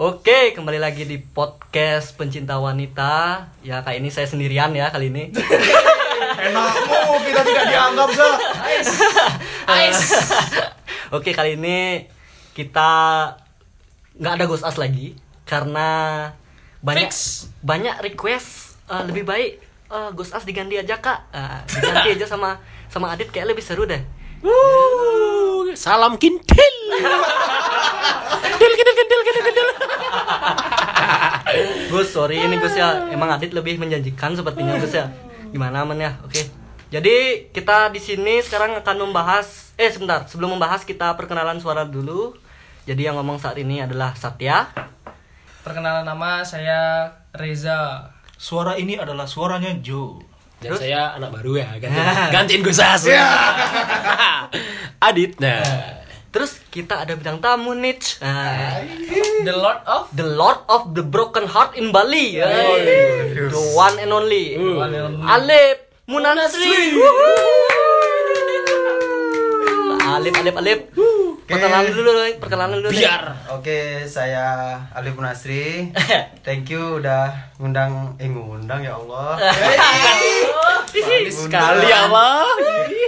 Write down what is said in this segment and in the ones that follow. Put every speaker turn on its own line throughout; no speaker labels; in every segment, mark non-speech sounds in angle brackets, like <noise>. Oke, kembali lagi di podcast pencinta wanita. Ya, kali ini saya sendirian ya kali ini.
Enakmu kita tidak dianggap sa.
Oke, kali ini kita nggak ada ghost us lagi karena banyak
Fix.
banyak request eh, lebih baik eh, ghost us diganti aja Kak. Eh, diganti aja sama sama Adit kayak lebih seru deh.
<laughs> Wuh, salam kintil. Kintil, kintil, kintil, kintil, kintil.
Gus, sorry ini Gus ya. Emang Adit lebih menjanjikan sepertinya Gus ya. Gimana aman ya? Oke. Jadi kita di sini sekarang akan membahas eh sebentar, sebelum membahas kita perkenalan suara dulu. Jadi yang ngomong saat ini adalah Satya.
Perkenalan nama saya Reza.
Suara ini adalah suaranya Joe.
Dan saya anak baru ya, gantiin, gantiin gue sas.
Ya.
<laughs> Adit, nah.
Terus kita ada bintang tamu Nich. Nah,
The Lord of
the Lord of the Broken Heart in Bali. The one and only.
One and only.
Alip Munasri. Alip, Alip, Alip. Perkenalan dulu, Roy. perkenalan dulu. Nih.
Biar.
Oke, saya Alif Munasri. Thank you udah ngundang eh ngundang ya Allah.
Sekali ya. Allah.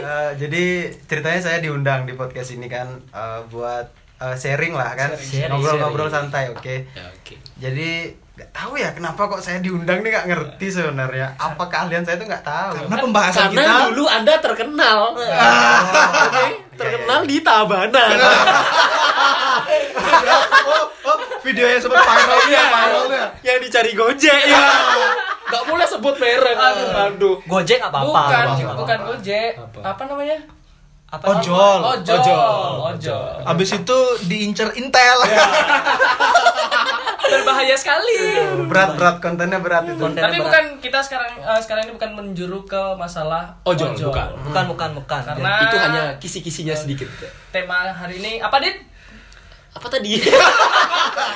Eh, jadi ceritanya saya diundang di podcast ini kan eh, buat eh, sharing lah kan. Ngobrol-ngobrol santai, oke.
Ya, Oke.
Jadi nggak tahu ya kenapa kok saya diundang nih nggak ngerti sebenarnya. Apa kealian saya tuh nggak tahu.
Karena pembahasan
Karena
kita
dulu Anda terkenal. <laughs> Oke, terkenal
Iya,
di Tabanan.
oh,
iya.
oh, video yang sempat viral
iya,
ya, viralnya.
Yang dicari Gojek ya. Gak boleh sebut merek. Aduh, aduh.
Gojek apa apa?
bukan
apa, apa,
bukan
apa.
Gojek.
Apa?
Apa? namanya? Oh,
apa
<laughs> Ojol.
Ojol. Ojol.
Abis itu diincer Intel.
Iya,
Berbahaya sekali.
Berat-berat kontennya berat itu.
Konten.
Tapi bukan kita sekarang eh, sekarang ini bukan menjuru ke masalah
Ojol, bukan.
bukan bukan bukan
Karena
Itu hanya kisi-kisinya sedikit.
tema hari ini apa, Dit?
apa tadi? <laughs>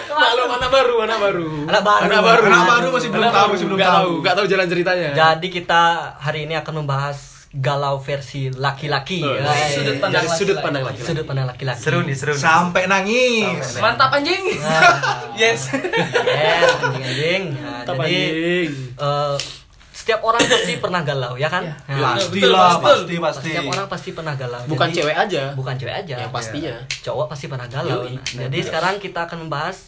Maklum anak baru, anak baru.
Anak baru.
Anak baru,
Anak baru masih belum tahu, masih belum
Nggak
tahu.
Nggak tahu jalan ceritanya.
jadi kita hari ini akan membahas galau versi laki-laki
Dari
Hai.
sudut pandang
dari sudut
laki-laki.
pandang laki.
sudut pandang laki-laki
Seru nih, seru. nih.
Sampai nangis.
Mantap anjing. <laughs> yes.
Nah, iya. yes anjing anjing Nah, jadi eh, setiap orang pasti pernah galau ya kan Nah,
Pastilah, pasti Iya, pasti.
setiap orang pasti pernah galau
Bukan
Jadi-
cewek aja. Iya,
bukan cewek aja
Yang pastinya.
cowok pasti pernah galau
Yoi.
Nah, jadi sekarang kita akan membahas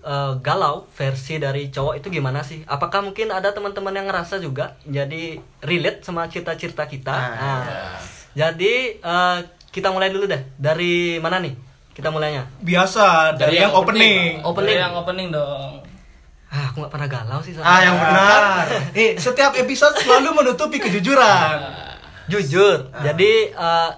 eh, galau versi dari cowok itu gimana sih apakah mungkin ada teman-teman yang ngerasa juga jadi relate sama cerita-cerita kita
Ah,
Nah, jadi eh, kita mulai dulu deh dari mana nih kita mulainya
Biasa dari,
Dari
yang
yang
opening.
Opening.
Yang opening dong.
ah aku nggak pernah galau sih soalnya.
Ah, yang benar.
Eh, setiap episode selalu menutupi kejujuran.
jujur jadi eh,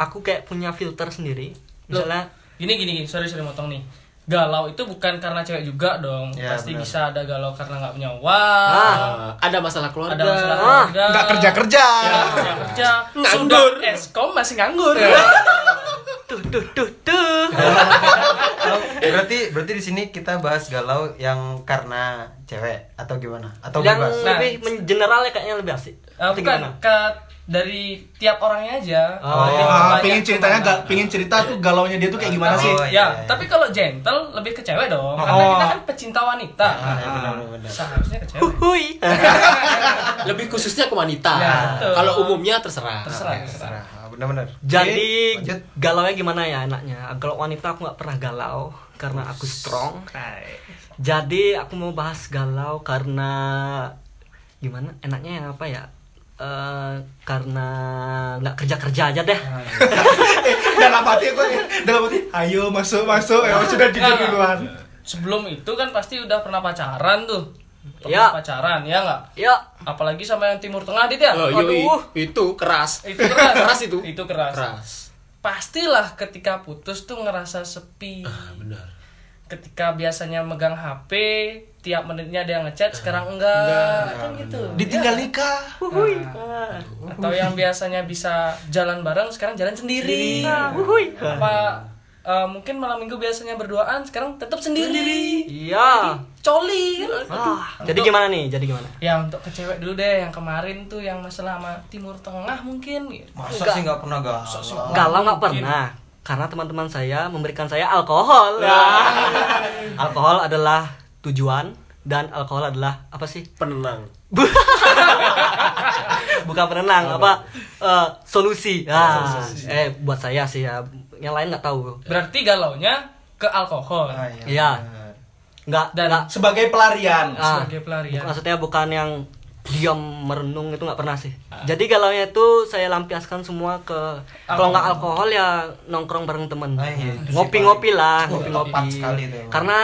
aku kayak punya filter sendiri
Loh.
misalnya
Gini gini, gini. sorry sorry motong nih. Galau itu bukan karena cewek juga dong.
Ya,
Pasti
benar.
bisa ada galau karena nggak punya uang.
Eh, ada masalah keluarga.
ada masalah
Ah,
keluarga
Enggak kerja-kerja.
Nggak kerja sudah
Nganggur.
eskom masih nganggur
tuh tuh tuh tuh
Eh, Berarti berarti di sini kita bahas galau yang karena cewek atau gimana? Atau
yang
bebas?
Nah.
lebih mengeneralnya kayaknya lebih asik
Eh,
Atau
bukan
gimana?
ke dari tiap orangnya aja
Oh,
Dari
Ah,
banyak
pingin ceritanya gak,
kemana.
pingin cerita tuh galaunya dia tuh kayak gimana
Oh,
sih?
iya,
ya
iya, iya.
tapi kalau gentle lebih ke cewek dong karena
Oh.
kita kan pecinta wanita
Ah, ya, benar-benar.
seharusnya ke cewek
Hui. <laughs>
Lebih khususnya ke wanita.
Ya, betul.
Kalau umumnya terserah.
terserah terserah
Terserah. Ah, Benar-benar.
Jadi
Lanjut.
galau nya gimana ya enaknya? Kalau wanita aku nggak pernah galau karena aku strong. Jadi aku mau bahas galau karena gimana? Enaknya yang apa ya? Eh, karena nggak kerja kerja aja deh.
<laughs> Eh, dalam hati aku dalam hati ayo masuk masuk emang sudah jujur duluan
sebelum itu kan pasti udah pernah pacaran tuh
Ya.
Iya.
pernah pacaran ya nggak
<laughs> Ya,
apalagi sama yang timur tengah dit ya
Oh, yoi. itu keras.
itu keras
Keras itu.
itu keras.
Keras.
pastilah ketika putus tuh ngerasa sepi
Ah, benar.
ketika biasanya megang HP tiap menitnya ada yang ngechat sekarang enggak, kan gitu
ditinggal nikah
wuhui.
atau yang biasanya bisa jalan bareng sekarang jalan sendiri
Ah,
Nah,
wuhui.
apa eh, mungkin malam minggu biasanya berduaan sekarang tetap sendiri
Iya.
coli kan?
Ah, jadi gimana nih? Jadi gimana?
ya untuk ke cewek dulu deh yang kemarin tuh yang masalah sama timur tengah mungkin gitu.
Masa sih nggak pernah galau? Ah,
Galau nggak pernah. karena teman-teman saya memberikan saya alkohol. <laughs> alkohol adalah tujuan dan alkohol adalah apa sih?
penenang
Bukan penenang, apa eh, solusi. Ah, eh buat saya sih ya. Yang lain nggak tahu.
Berarti galaunya ke alkohol.
Ah, iya.
Iya. Nggak
Dan-
nggak-
sebagai pelarian
ah,
sebagai pelarian.
bukan- maksudnya bukan yang diam merenung itu nggak pernah sih. Jadi galaunya itu saya lampiaskan semua ke kalau nggak alkohol ya nongkrong bareng temen.
Ah, iya.
Ngopi-ngopi lah,
Oh, tepat
ngopi-ngopi.
sekali itu emang.
Iya, Karena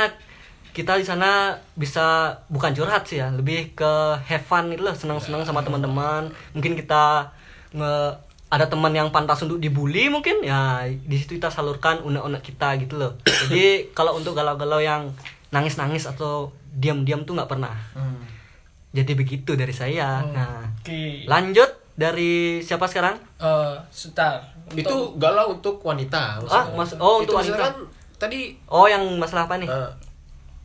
kita di sana bisa bukan curhat sih ya, lebih ke have fun gitu loh, senang-senang sama teman-teman. Mungkin kita nge ada teman yang pantas untuk dibully mungkin ya di situ kita salurkan unek-unek kita gitu loh. Jadi kalau untuk galau-galau yang nangis-nangis atau diam-diam tuh nggak pernah.
Hmm.
Jadi begitu dari saya.
Oh.
Nah,
Oke.
lanjut dari siapa sekarang?
Eh, sebentar. Untuk-
itu galau untuk wanita
Ah, mas oh untuk
Itu maksudnya kan
wanita.
tadi
Oh, yang masalah apa nih?
eh,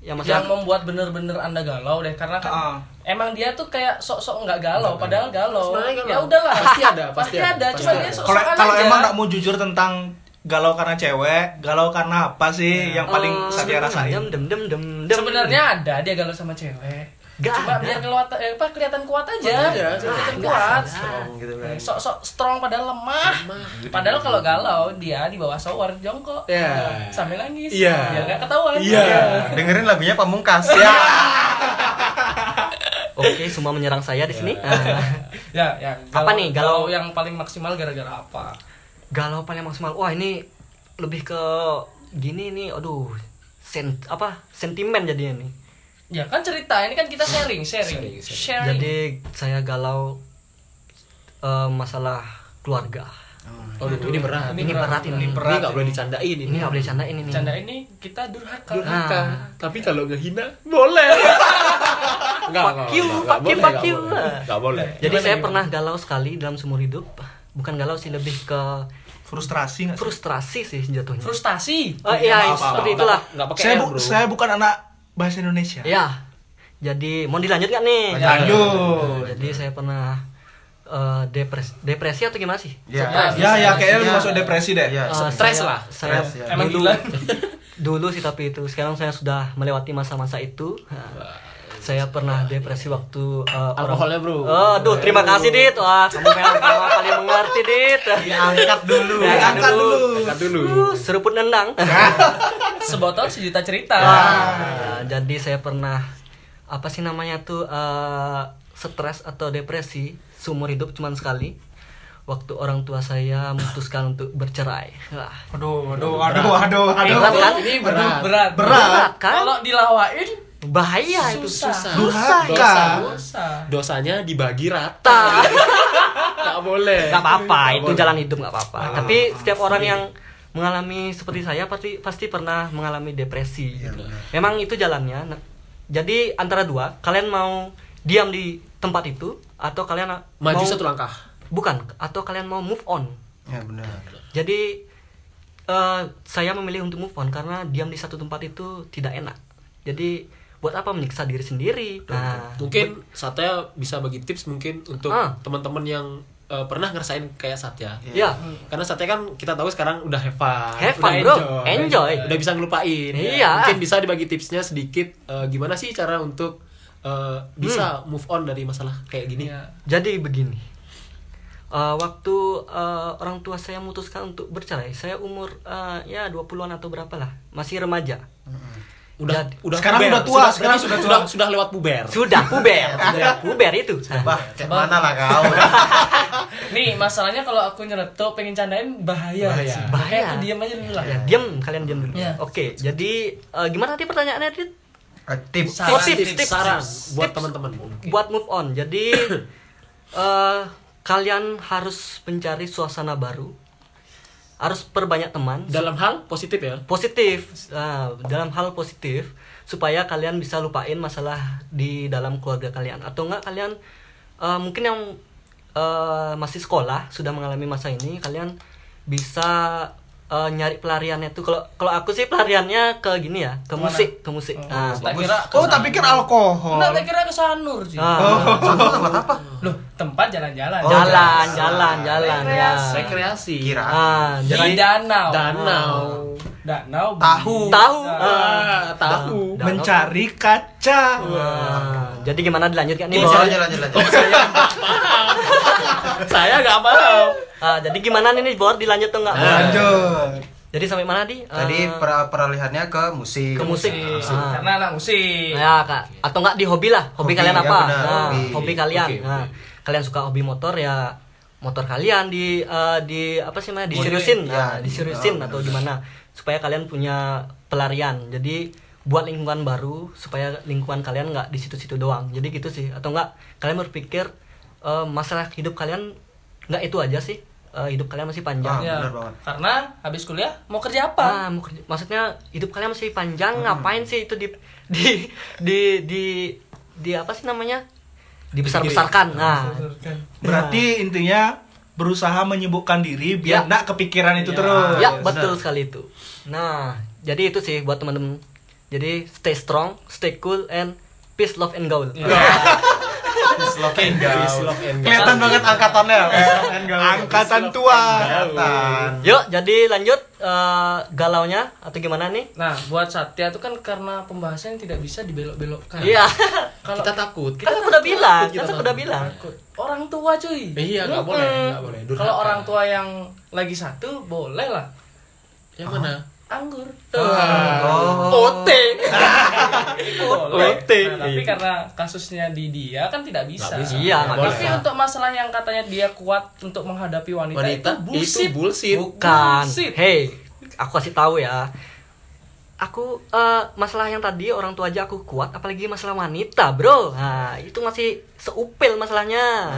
yang masalah
yang membuat bener-bener anda galau deh karena kan
Ah.
emang dia tuh kayak sok-sok nggak galau padahal galau
Sebenarnya galau.
ya udahlah
Pasti ada, pasti ada,
ada
pasti
cuma
ada.
dia sok
kalau
kan
kalau
aja
emang nggak mau jujur tentang galau karena cewek galau karena apa sih
Iya.
yang paling
Eh,
Oh,
saya
Dem
rasain
dem dem dem dem.
sebenarnya ada dia galau sama cewek
Nggak
cuma
ada.
biar keluat, eh, apa, kelihatan kuat aja
aja,
kelihatan
nggak ada.
kuat
Strong gitu kan.
Eh, sok-sok strong padahal lemah. padahal kalau galau dia di bawah shower jongkok
Ya.
sambil nangis
Iya.
biar nggak ketahuan
Iya.
Dengerin lagunya Pamungkas.
Iya.
Ya.
Oke, semua menyerang saya di sini. Ah.
ya ya
Apa nih, galau?
yang paling maksimal gara-gara apa
<laughs> Galau paling maksimal. Wah, ini lebih ke gini nih. Aduh, sen apa? Sentimen jadinya nih.
ya kan cerita ini kan kita sharing
Sharing, sharing.
sharing sharing,
Jadi saya galau eh, masalah keluarga.
oh ini berat
Ini berat ini.
ini Hmm.
Ini
nggak boleh dicandain ini
Ini nggak boleh canda ini nih.
canda ini kita durhaka
Durhaka.
Nah, tapi kalau ngehina <laughs> boleh nggak
Fuck you, fuck you, fuck you.
nggak boleh
Jadi
Gimana,
saya
gimana?
pernah galau sekali dalam seumur hidup. Bukan galau sih, lebih ke
frustrasi nggak sih?
frustrasi sih jatuhnya.
frustasi
Oh iya,
Maaf, maaf,
seperti
maaf.
itulah.
nggak pakai
saya,
M,
bu-
bro. Iya.
saya bukan anak bahasa Indonesia
Ya, jadi mau dilanjut nggak nih?
lanjut
Jadi saya pernah eh, depres depresi atau gimana sih?
Ya.
ya ya kayaknya lu masuk depresi deh
Iya.
Eh,
Stres
saya-
lah.
Saya
Stres, ya.
emang
Emang
dulu,
gila.
<laughs> dulu sih tapi itu sekarang saya sudah melewati masa-masa itu. Saya pernah depresi waktu eh, orang-
Alkoholnya, bro.
Eh, Aduh, terima kasih Dit. Wah, kamu memang kamu paling mengerti Dit.
Iya,
Diangkat dulu.
Iya,
Ya,
angkat dulu
Angkat dulu
Uh, seruput nendang.
sebotol sejuta cerita
Ah, jadi saya pernah apa sih namanya tuh eh, stres atau depresi seumur hidup cuman sekali. Waktu orang tua saya memutuskan untuk bercerai. Wah,
aduh aduh aduh aduh aduh
Berat kan?
ini berat
berat
Berat kan?
kalau dilawain
Bahaya itu.
susah
durhaka
susah
dosanya dibagi
Tak.
rata nggak boleh
Gak apa-apa, itu jalan hidup gak apa-apa.
Ah,
Tapi setiap orang yang mengalami seperti saya pasti pasti pernah mengalami depresi.
Iya,
gitu. Memang itu jalannya. Nah, Jadi antara dua, kalian mau diam di tempat itu atau kalian mau-
maju satu langkah
Bukan, atau kalian mau move on.
Ya benar.
Jadi eh, saya memilih untuk move on karena diam di satu tempat itu tidak enak. Jadi buat apa menyiksa diri sendiri? Nah,
mungkin Satya bisa bagi tips mungkin untuk
Ah.
teman-teman yang eh, pernah ngerasain kayak Satya
Iya.
ya,
karena Satya kan kita tahu sekarang udah have fun,
Have
udah
fun, bro. Enjoy.
udah bisa ngelupain Ya,
Iya.
mungkin bisa dibagi tipsnya sedikit eh, gimana sih cara untuk eh, bisa
Hmm.
move on dari masalah kayak gini
Iya.
Jadi begini, Eh, waktu eh, orang tua saya memutuskan untuk bercerai, saya umur eh, ya 20-an atau berapa lah, masih remaja.
udah
Jadi-
udah
Sekarang
puber.
udah tua,
Sudah-
sekarang
berarti
sudah tua.
sudah sudah lewat puber
Sudah puber, sudah puber itu. Nah,
Bah, kayak mana lah kau?
nih masalahnya kalau aku nyeletuk pengen candain bahaya
Bahaya.
Bahaya.
Kayak aku diam aja dulu lah
Ya, diam kalian diam dulu.
Iya.
Oke, jadi eh, gimana tadi pertanyaannya Dit?
Eh, Tips.
Saran,
Oh, Tips, tips, tips.
saran buat
Tips.
teman-teman
<laughs> buat move on. Jadi eh kalian harus mencari suasana baru, harus perbanyak teman,
dalam hal positif ya
positif Ah, dalam hal positif supaya kalian bisa lupain masalah di dalam keluarga kalian atau enggak kalian eh, mungkin yang eh, masih sekolah sudah mengalami masa ini kalian bisa eh, eh, nyari pelariannya tuh kalau kalau aku sih pelariannya ke gini ya ke
Kemana?
musik ke musik
Oh,
nah,
tak kira
Oh, tak pikir alkohol.
Enggak, tak kira ke Sanur sih.
nah,
Contoh tempat apa?
Loh, tempat jalan-jalan.
Oh,
jalan,
jalan.
jalan jalan ya
Rekreasi.
rekreasi
Kira.
ah
Di
jadi
danau.
danau
Danau.
Tahu.
tahu
Nah.
ah.
Ah, tahu
Mencari kaca.
Ah, jadi gimana dilanjutkan nih
Ini
Boy?
jalan jalan jalan.
saya nggak paham
Ah, jadi gimana nih nih, Bor dilanjut tuh nggak? Bor?
Lanjut.
Jadi sampai mana di? Ah,
Tadi per- Iya. peralihannya ke musik.
Ke musik.
Musik.
Ah.
Karena anak musik.
ya kak atau nggak di hobi lah hobi,
Hobi,
kalian
ya
apa
benar,
Nah,
hobi.
hobi. kalian
Oke,
Nah, kalian suka hobi motor ya motor kalian di eh, di apa sih namanya diseriusin nah,
Ya,
diseriusin atau gimana supaya kalian punya pelarian jadi buat lingkungan baru supaya lingkungan kalian nggak di situ-situ doang jadi gitu sih atau nggak kalian berpikir eh, masalah hidup kalian nggak itu aja sih Eh, hidup kalian masih panjang
Ah,
Ya,
benar banget.
Karena habis kuliah mau kerja
Ah,
apa?
mau kerja- maksudnya hidup kalian masih panjang, ngapain sih itu di di di di, di apa sih namanya? Dibesar-besarkan. Nah,
kan?
Berarti intinya berusaha menyibukkan diri
Ya.
biar enggak kepikiran itu terus.
ya betul sekali itu. Nah, jadi itu sih buat teman-teman. Jadi stay strong, stay cool and peace love and gaul.
Kelihatan banget angkatannya.
Ya, kan? Angkatan tua.
Yuk, jadi lanjut eh, galaunya atau gimana nih?
Nah, buat Satya itu kan karena pembahasan tidak bisa dibelok-belokkan.
Iya. <laughs>
Kalau
kita takut
kan
kita
aku udah bilang,
kita
kan aku
takut.
udah bilang.
orang tua cuy.
Iya, nggak
Mm-mm.
boleh, nggak boleh. Durhaka.
Kalau orang tua yang lagi satu boleh lah.
yang mana
Anggur.
Ah.
Oh.
Boleh.
Ote.
Nah, tapi karena kasusnya di dia kan tidak bisa.
Nggak bisa.
Iya,
Nggak
makanya.
Tapi untuk masalah yang katanya dia kuat untuk menghadapi wanita,
wanita
itu
itu
bullshit.
bullshit
Bukan.
Bullshit.
Hey, aku kasih tahu ya. Aku eh, masalah yang tadi orang tua aja aku kuat, apalagi masalah wanita, Bro. Nah, itu masih seupil <laughs> masalahnya.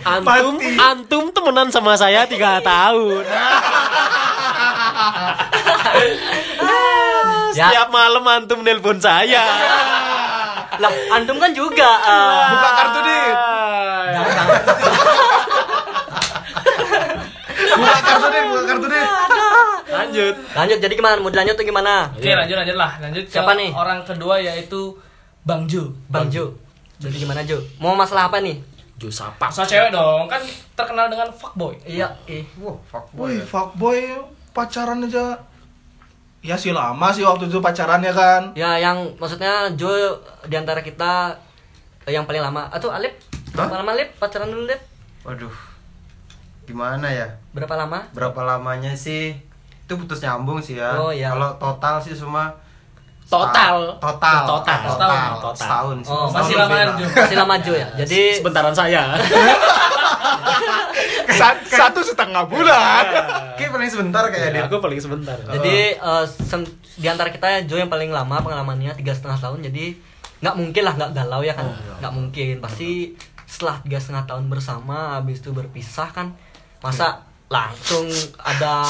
antum
Mati.
antum temenan sama saya tiga tahun
Ya.
setiap malam antum nelpon saya
lah, antum kan juga eh,
Buka kartu di.
Ya,
jangan- jangan.
Buka kartu deh, buka kartu deh.
lanjut
Lanjut, jadi gimana? Mau dilanjut atau gimana?
Oke,
Iya.
lanjut lanjut lah. Lanjut ke
Siapa nih?
orang kedua yaitu Bang Jo.
Bang Jo. Jadi gimana, Jo? Mau masalah apa nih?
Jo Sapak
Masa cewek dong, kan terkenal dengan fuckboy.
Iya, eh.
Wow, fuck
Wih,
boy.
fuckboy pacaran aja. Ya sih lama sih waktu itu pacarannya kan.
Ya, yang maksudnya Jo di antara kita eh, yang paling lama. Atau Alip?
Hah?
Berapa lama Alip? Pacaran dulu, Alip?
Waduh. Gimana ya?
Berapa lama?
Berapa lamanya sih? Itu putus nyambung sih ya.
Oh, iya.
Kalau total sih semua
Total.
total
Total.
total
Total.
setahun sih.
Oh,
Setahun
masih
lebih
lamaan,
lah.
Jo.
Masih lama Jo <laughs> ya. Jadi
sebentaran <laughs> saya
Sa- Satu setengah bulan.
Oke, paling sebentar
Iya,
kayak dia.
Ya, aku paling sebentar
Oh.
Jadi eh, sen- di antara kita Jo yang paling lama pengalamannya tiga setengah tahun jadi nggak mungkin lah nggak galau ya kan nggak mungkin pasti setelah tiga setengah tahun bersama habis itu berpisah kan
Iya.
masa langsung ada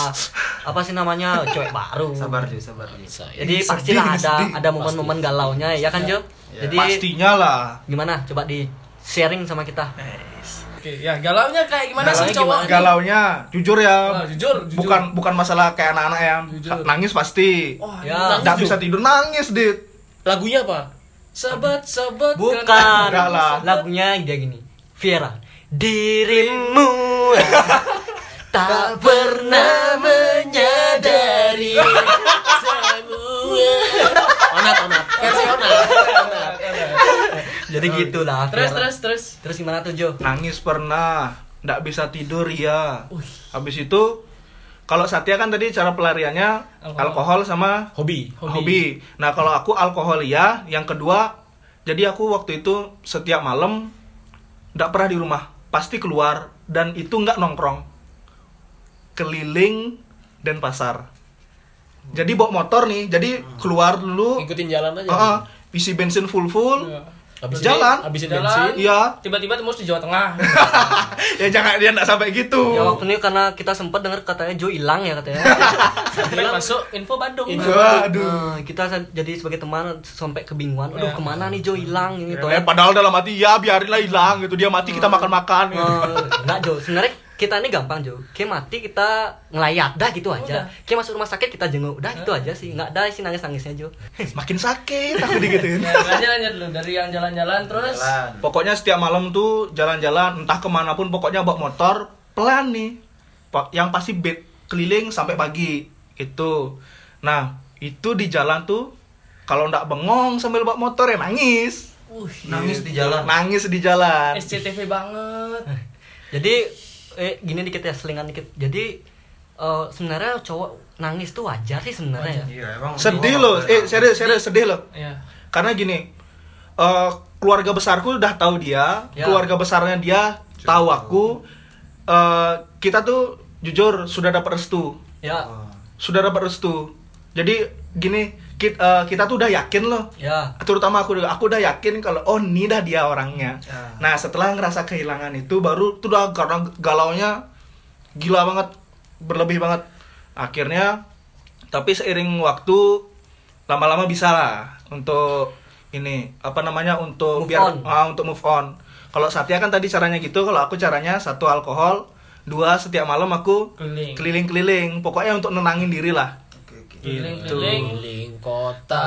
apa sih namanya cewek baru
Sabar Jo, sabar Jo.
ya.
jadi
Sedih,
pastilah ada
sedih. Iya.
ada momen-momen galaunya ya kan Jo
Ya.
jadi
Pastinya lah.
gimana coba di sharing sama kita
Oke, ya galaunya kayak gimana sih cowok? nih?
Galaunya jujur ya.
Ah, jujur, jujur.
Bukan bukan masalah kayak anak-anak yang
Jujur.
nangis pasti.
Wah,
Ya.
nangis,
Nggak
Jo.
bisa tidur nangis, Dit.
lagunya apa
Sahabat, sahabat.
bukan
Enggak lah.
<laughs> lagunya dia gini Viera dirimu tak pernah menyadari
onat onat versi onat
<laughs> jadi gitulah
Terus,
Viera.
terus, terus.
terus gimana tuh Jo
Nangis pernah, nggak bisa tidur ya. Habis itu kalau Satya kan tadi cara pelariannya
Alkohol.
alkohol, sama
hobi
hobi. Nah, kalau aku alkohol ya, yang kedua jadi aku waktu itu setiap malam nggak pernah di rumah, pasti keluar dan itu nggak nongkrong. Keliling dan pasar. Jadi bawa motor nih, jadi keluar dulu,
ngikutin jalan aja
ah, ah, isi bensin full full,
Ya.
Habisin-
Jalan.
habisin
Jalan.
bensin
iya,
Tiba-tiba tembus di Jawa Tengah.
ya jangan dia nggak sampai gitu.
ya waktu ini karena kita sempat dengar katanya Jo hilang ya katanya
Sampai masuk info Bandung. Ya,
Aduh.
Nah, kita sa- jadi sebagai teman sampai kebingungan aduh
Ya.
kemana nih Jo hilang ini
iya,
Hmm.
Eh, padahal dalam hati ya biarinlah hilang gitu dia mati kita makan-makan.
enggak Jo sebenarnya kita ini gampang Jo kayak mati kita ngelayat dah gitu aja
Udah.
kayak masuk rumah sakit kita jenguk dah gitu aja sih nggak ada sih nangis nangisnya Jo
makin sakit aku digituin
Nah, lanjut lanjut dulu dari yang jalan-jalan terus
Jalan.
<laughs> pokoknya setiap malam tuh jalan-jalan entah kemana pun pokoknya bawa motor pelan nih Pa- yang pasti beat keliling sampai pagi itu nah itu di jalan tuh kalau ndak bengong sambil bawa motor ya nangis
uh
Nangis di jalan.
nangis di
Eh,
jalan
SCTV banget
jadi eh, gini dikit ya selingan dikit jadi eh, sebenarnya cowok nangis tuh wajar sih sebenarnya ya.
Iya, emang
sedih
orang
loh
tua
eh
enak.
serius serius sedih loh
ya
karena gini eh, keluarga besarku udah tahu dia
Ya.
keluarga besarnya dia tahu aku Eh, kita tuh jujur sudah dapat restu
ya
Oh.
sudah dapat restu jadi gini kita, kita tuh udah yakin loh
ya
terutama aku aku udah yakin kalau oh ini dah dia orangnya
Ya.
nah setelah ngerasa kehilangan itu baru tuh udah karena galaunya gila banget berlebih banget akhirnya tapi seiring waktu lama-lama bisa lah untuk ini apa namanya untuk
Move
biar
on.
ah, untuk move on kalau Satya kan tadi caranya gitu kalau aku caranya satu alkohol dua setiap malam aku
keliling
keliling-keliling pokoknya untuk nenangin diri lah
Oke, oke.
keliling
Gitu.
keliling
Keliling <laughs> kota.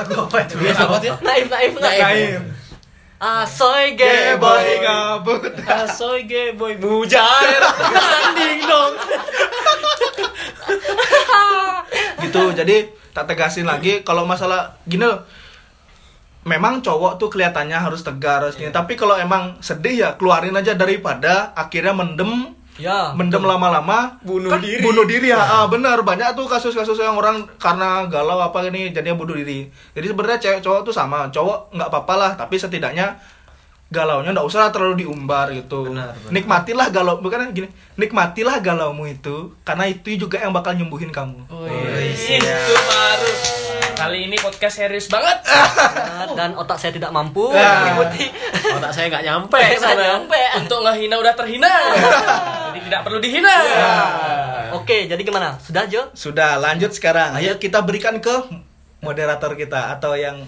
Apa itu?
Biasa banget ya.
<laughs> naif naif naif,
Naim
ah soy gay
yeah,
boy
gabut
Asoy gay boy
<laughs>
mujair. Tanding dong.
<laughs> gitu jadi tak tegasin lagi kalau masalah gini loh memang cowok tuh kelihatannya harus tegar harus ini tapi kalau emang sedih ya keluarin aja daripada akhirnya mendem
ya
mendem lama-lama
Bunuh diri.
bunuh diri ya ah, benar banyak tuh kasus-kasus yang orang karena galau apa ini jadinya bunuh diri jadi sebenarnya cewek cowok tuh sama cowok nggak apa-apa lah tapi setidaknya galaunya nggak usah lah terlalu diumbar gitu
Benar, benar.
nikmatilah galau bukan gini nikmatilah galaumu itu karena itu juga yang bakal nyembuhin kamu iya.
Wih,
Wih,
itu baru kali ini podcast serius banget
Benar, dan otak saya tidak mampu
Nah.
mengikuti
Otak saya nggak nyampe
Saya
sana.
nyampe.
Iya, kan? untuk ngehina udah terhina jadi tidak perlu dihina
Oke, jadi gimana? Sudah Jo?
Sudah, lanjut sekarang. Ayo kita berikan ke moderator kita atau yang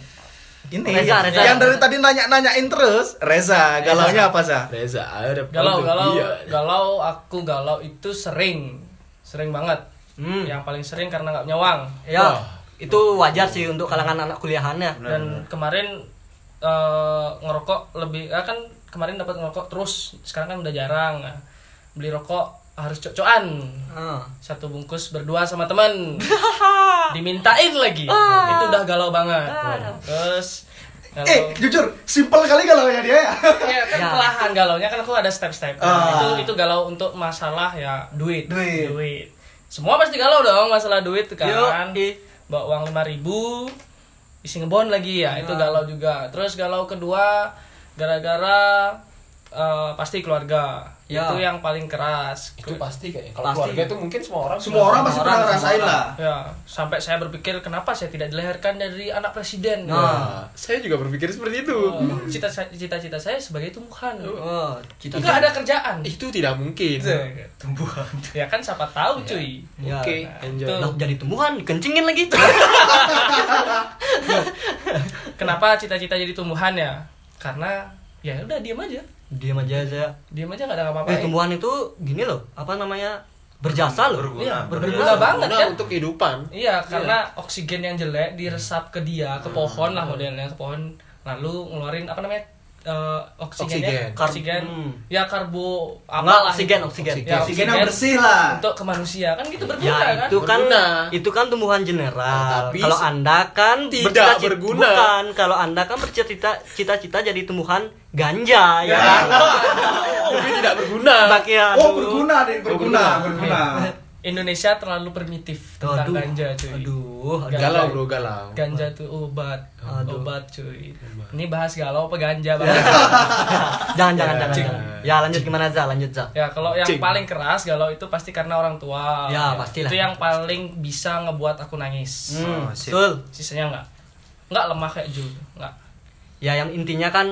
ini
Reza, Reza.
yang dari tadi nanya-nanyain terus. Oh, Reza, galaunya apa, Sa?
Reza, ayo deh.
galau
Iya.
galau galau aku galau itu sering sering banget
Hmm.
yang paling sering karena nggak nyawang
Ya,
Wah.
itu wajar sih untuk kalangan anak kuliahannya.
dan kemarin eh, ngerokok lebih ah, kan kemarin dapat ngerokok terus sekarang kan udah jarang Nah, beli rokok harus cocok-cocokan
Ah.
satu bungkus berdua sama teman dimintain lagi itu udah galau banget terus galau
Eh, jujur, simple kali galaunya dia ya.
ya kan
Ya.
perlahan galaunya kan aku ada step-step
Ah.
itu itu galau untuk masalah ya duit
Duit.
semua pasti galau dong masalah duit kan
Yoi.
bawa uang lima ribu isi ngebon lagi ya itu galau juga terus galau kedua gara-gara eh, pasti keluarga
Ya.
itu yang paling keras
Itu pasti kayaknya. Kalau
Pasti.
keluarga itu mungkin semua orang
Semua orang pasti pernah ngerasain lah.
ya sampai saya berpikir kenapa saya tidak dilahirkan dari anak presiden
Ah.
Nah.
Saya juga berpikir seperti itu.
Oh, cita cita-cita saya sebagai tumbuhan
Oh, cita
nggak ada kerjaan
Itu tidak mungkin.
Iya,
Tumbuhan.
Gitu. ya kan siapa tahu cuy
Ya.
Iya.
Oke, enjoy.
Tuh.
Lah, jadi tumbuhan, dikencingin lagi.
kenapa cita-cita jadi tumbuhan ya karena ya udah diam aja
Diam aja saya.
diam aja nggak ada apa-apa
Eh, tumbuhan itu gini loh, apa namanya? Berjasa loh.
Berguna.
iya berguna
Berguna
banget
Nah,
kan
untuk kehidupan.
iya karena oksigen yang jelek diresap ke
Hmm.
dia ke pohon lah modelnya ke pohon lalu ngeluarin apa namanya eh, oksigennya
Oksigen.
oksigen,
Kar- hmm.
ya karbo
Enggak,
apalah
oksigen,
itu.
oksigen.
Ya,
Oksigen yang bersih lah.
untuk ke manusia kan gitu berguna
Ya
kan
itu kan
Berguna.
itu kan tumbuhan
Nah,
general.
tapi
kalau
se-
Anda kan
tidak
bercita-cita-
berguna.
Bukan, kalau Anda kan bercita-cita cita-cita jadi tumbuhan ganja ya. kan?
Tapi Oh, tidak berguna.
Bakian.
Oh, berguna deh, berguna,
berguna.
berguna.
Iya. Indonesia terlalu primitif
Tuh, aduh.
tentang ganja cuy
Aduh, aduh.
Galau bro, galau.
ganja tuh obat
Aduh. Ya.
obat cuy ini bahas galau apa ganja bang
jangan, jangan, jangan,
Cing.
jangan. Ya lanjut gimana Za? Lanjut Za.
ya kalau yang
Cing.
paling keras galau itu pasti karena orang tua
Ya, pastilah.
itu yang paling bisa ngebuat aku nangis
Hmm,
Oh, sip.
betul.
sisanya enggak enggak lemah kayak Jul enggak
Ya yang intinya kan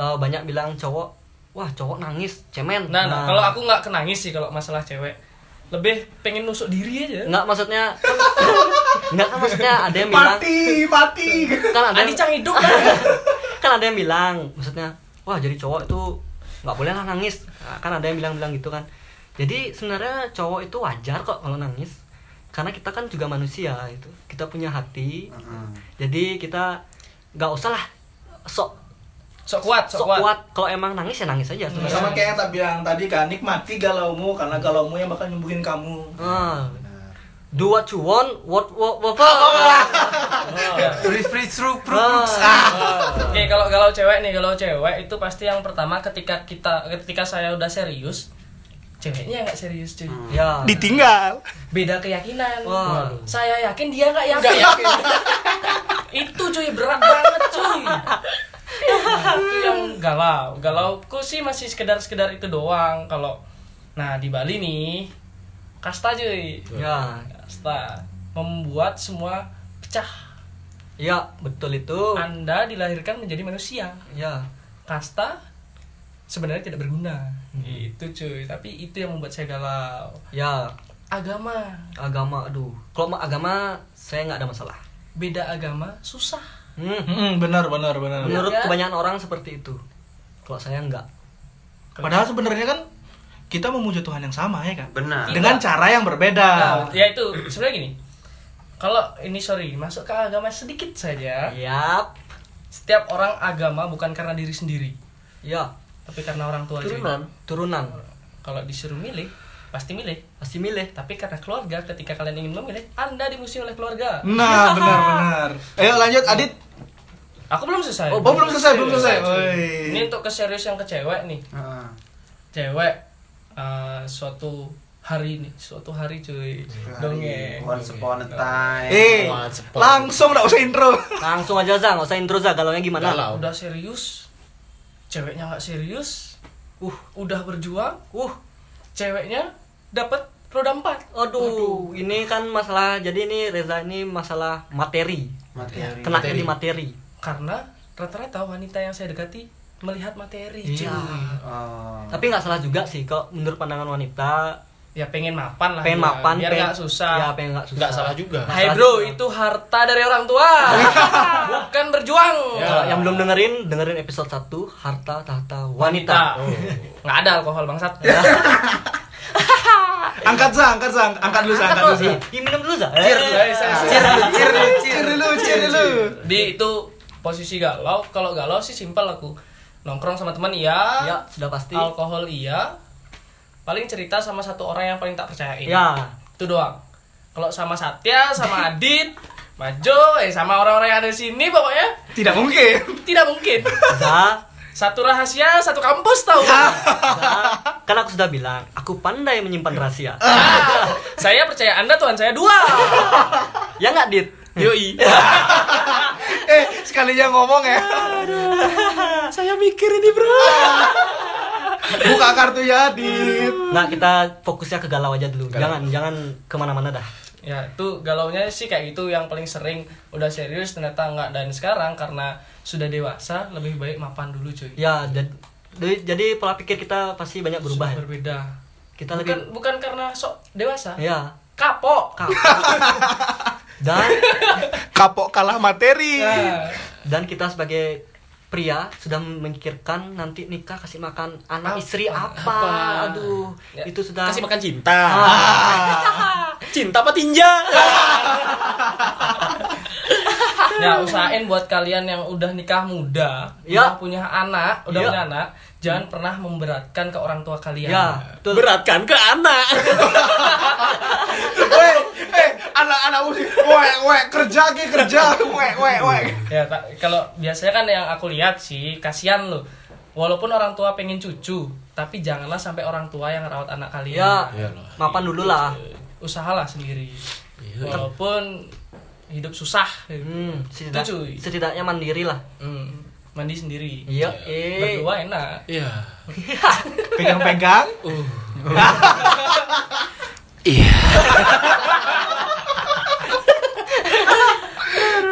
eh, banyak bilang cowok, wah cowok nangis, cemen.
nah, nah, kalau aku nggak kenangis sih kalau masalah cewek lebih pengen nusuk diri aja
Enggak maksudnya <laughs> Enggak kan maksudnya ada yang bilang
Mati, mati. <laughs>
kan ada <laughs>
Andi
yang,
Cang hidup kan
kan ada yang bilang maksudnya wah jadi cowok itu nggak boleh lah nangis Nah, kan ada yang bilang-bilang gitu kan jadi sebenarnya cowok itu wajar kok kalau nangis karena kita kan juga manusia itu kita punya hati jadi kita nggak usah lah sok
Sok kuat,
sok kuat, kalau emang nangis ya nangis aja sebenarnya
Sama kayak yang tak bilang tadi kan, nikmati galaumu karena galaumu yang bakal nyembuhin kamu.
Ah. do what you want what what what, what.
Free free
oh.
through
Ah.
Oh, ya. Oke, kalau kalau cewek nih, kalau cewek itu pasti yang pertama ketika kita ketika saya udah serius, ceweknya nggak serius cuy.
ya
Ditinggal.
Beda keyakinan.
Wah.
Waduh. Saya yakin dia nggak yakin. <laughs> itu cuy berat banget cuy. Nah, itu yang galau. Galauku sih masih sekedar-sekedar itu doang kalau nah di Bali nih kasta cuy.
ya
Kasta membuat semua pecah.
ya betul itu
Anda dilahirkan menjadi manusia.
ya
kasta sebenarnya tidak berguna itu cuy tapi itu yang membuat saya galau
ya
agama
agama aduh kalau ma- agama saya nggak ada masalah
beda agama susah
Hmm.
Hmm, benar benar benar.
menurut
Ya.
kebanyakan orang seperti itu kalau saya nggak
Padahal sebenarnya kan kita memuji Tuhan yang sama ya kan.
Benar.
Dengan cara yang berbeda.
nah, ya itu <clears throat> sebenarnya gini kalau ini sorry masuk ke agama sedikit saja
yap
setiap orang agama bukan karena diri sendiri
ya
tapi karena orang tua cuy.
turunan
turunan
kalau disuruh milih pasti milih
pasti milih
tapi karena keluarga ketika kalian ingin memilih anda dimusuhi oleh keluarga
Nah, benar benar. Ayo lanjut Adit.
aku belum selesai
Oh, belum selesai, belum selesai. Oi.
ini untuk keserius yang ke cewek nih
Heeh.
cewek eh, suatu hari nih suatu hari cuy eh. dongeng
Hmm. Once upon a time.
Eh,
Once upon-
langsung enggak usah intro.
langsung aja za nggak usah intro za galaunya gimana
galau
udah serius ceweknya nggak serius uh udah berjuang uh ceweknya dapat roda empat
Aduh, ini kan masalah. Jadi ini Reza ini masalah materi.
Materi.
Kena di materi.
karena rata-rata wanita yang saya dekati melihat materi cuy
Iya.
Oh.
Tapi nggak salah juga sih kok menurut pandangan wanita
ya pengen mapan lah
pengen
dia,
mapan,
biar
pengen
nggak susah
Ya, pengen nggak susah.
nggak salah juga
Nah,
Hai
Masalah
bro,
juga.
itu harta dari orang
<laughs>
tua, bukan berjuang.
Iya. Kalau
Iya.
yang belum dengerin, dengerin episode 1 Harta Tahta Wanita. Iya.
Oh. Nggak ada alkohol bangsat.
Angkat Zang, angkat Zang, angkat dulu Zang, angkat
Iya.
dulu. Iya. Zang.
Ini minum dulu, Eh. Za.
guys.
Cheer dulu, cheer dulu,
Cheer
cheer
dulu, cheer dulu.
<laughs> Di itu posisi galau, kalau galau sih simpel aku. Nongkrong sama teman iya,
Ya, sudah pasti.
alkohol iya. Paling cerita sama satu orang yang paling tak percayain.
Ya.
Itu doang. Kalau sama Satya, <laughs> sama Adit, Majo, eh sama orang-orang yang ada di sini pokoknya
Tidak mungkin.
tidak mungkin.
Za,
Satu rahasia, satu kampus tahu. <laughs>
Za. Kan aku sudah bilang, aku pandai menyimpan rahasia.
Ah, saya percaya Anda Tuhan saya dua.
ya nggak, Dit?
Yoi.
Eh, sekalinya ngomong ya.
<laughs> saya mikir ini, Bro.
Buka kartunya Adit.
Nah, kita fokusnya ke galau aja dulu. Jangan, jangan kemana-mana dah.
ya itu galaunya sih kayak gitu yang paling sering udah serius ternyata enggak dan sekarang karena sudah dewasa lebih baik mapan dulu cuy
Ya, jad- jadi, jadi pola pikir kita pasti banyak berubah.
Sudah
ya.
berbeda
Kita
bukan
lebih
bukan karena sok dewasa
ya
Iya. kapok
dan
Kapok kalah materi.
Nah,
dan kita sebagai pria sudah memikirkan nanti nikah kasih makan anak istri apa, aduh
Ya,
itu sudah
kasih makan cinta
Ah,
cinta apa tinja
Iya.
ya usahain buat kalian yang udah nikah muda
Ya.
udah punya anak udah
Ya.
punya anak jangan pernah memberatkan ke orang tua kalian
ya betul
beratkan ke anak
Weh, <laughs> eh, anak-anak musik. Weh, weh, kerja ke kerja. Weh, weh, weh.
ya ta- kalau biasanya kan yang aku lihat sih kasihan loh walaupun orang tua pengen cucu tapi janganlah sampai orang tua yang rawat anak kalian Eh,
ya
Iyalah.
mapan dulu lah
usahalah sendiri
Ya.
Iya.
walaupun hidup susah eh,
hmm, setidak-
Itu, cuy.
setidaknya mandiri lah
Hmm, mandi sendiri
iya eh
berdua enak
iya
Pegang-pegang.
iya